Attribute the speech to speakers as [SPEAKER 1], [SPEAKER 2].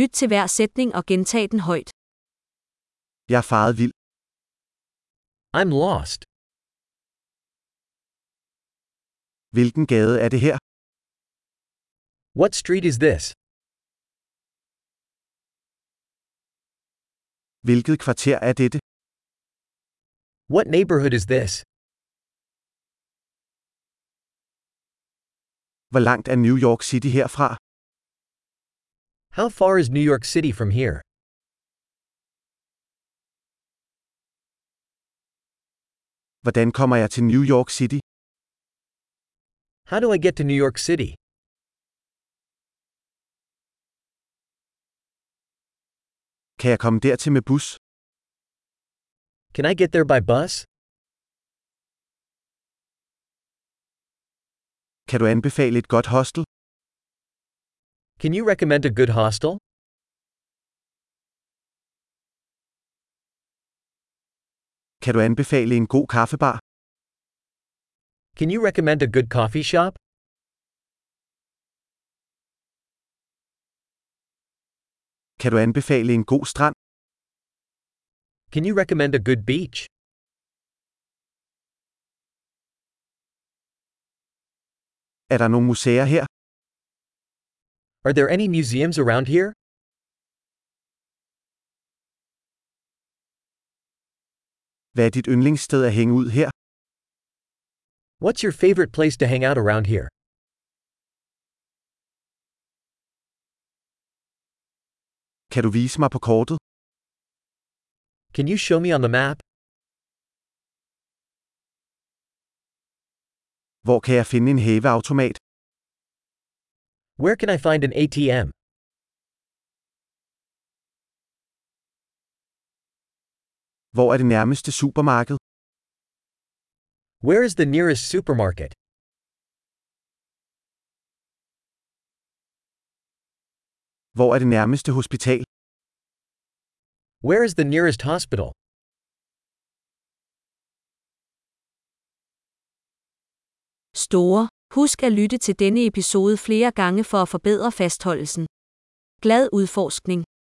[SPEAKER 1] Lyt til hver sætning og gentag den højt.
[SPEAKER 2] Jeg er faret vild.
[SPEAKER 3] I'm lost.
[SPEAKER 2] Hvilken gade er det her?
[SPEAKER 3] What street is this?
[SPEAKER 2] Hvilket kvarter er dette?
[SPEAKER 3] What neighborhood is this?
[SPEAKER 2] Hvor langt er New York City herfra?
[SPEAKER 3] How far is New York City from here?
[SPEAKER 2] Hvordan kommer jeg til New York City?
[SPEAKER 3] How do I get to New York City?
[SPEAKER 2] Kan jeg komme dertil med bus?
[SPEAKER 3] Can I get there by bus?
[SPEAKER 2] Kan du anbefale et godt hostel?
[SPEAKER 3] Can you recommend a good hostel?
[SPEAKER 2] Kan du anbefale en god kaffebar?
[SPEAKER 3] Can you recommend a good coffee shop?
[SPEAKER 2] Kan du anbefale en god strand?
[SPEAKER 3] Can you recommend a good beach?
[SPEAKER 2] Er der nogle museer her?
[SPEAKER 3] Are there any museums around here?
[SPEAKER 2] Hvad er dit yndlingssted at hænge ud her?
[SPEAKER 3] What's your favorite place to hang out around here?
[SPEAKER 2] Kan du vise mig på kortet?
[SPEAKER 3] Can you show me on the map?
[SPEAKER 2] Hvor kan jeg finde en hæveautomat?
[SPEAKER 3] Where can I find an ATM?
[SPEAKER 2] Hvor er det nærmeste supermarked?
[SPEAKER 3] Where is the nearest supermarket?
[SPEAKER 2] Hvor er det nærmeste hospital?
[SPEAKER 3] Where is the nearest hospital?
[SPEAKER 1] Store. Husk at lytte til denne episode flere gange for at forbedre fastholdelsen. Glad udforskning.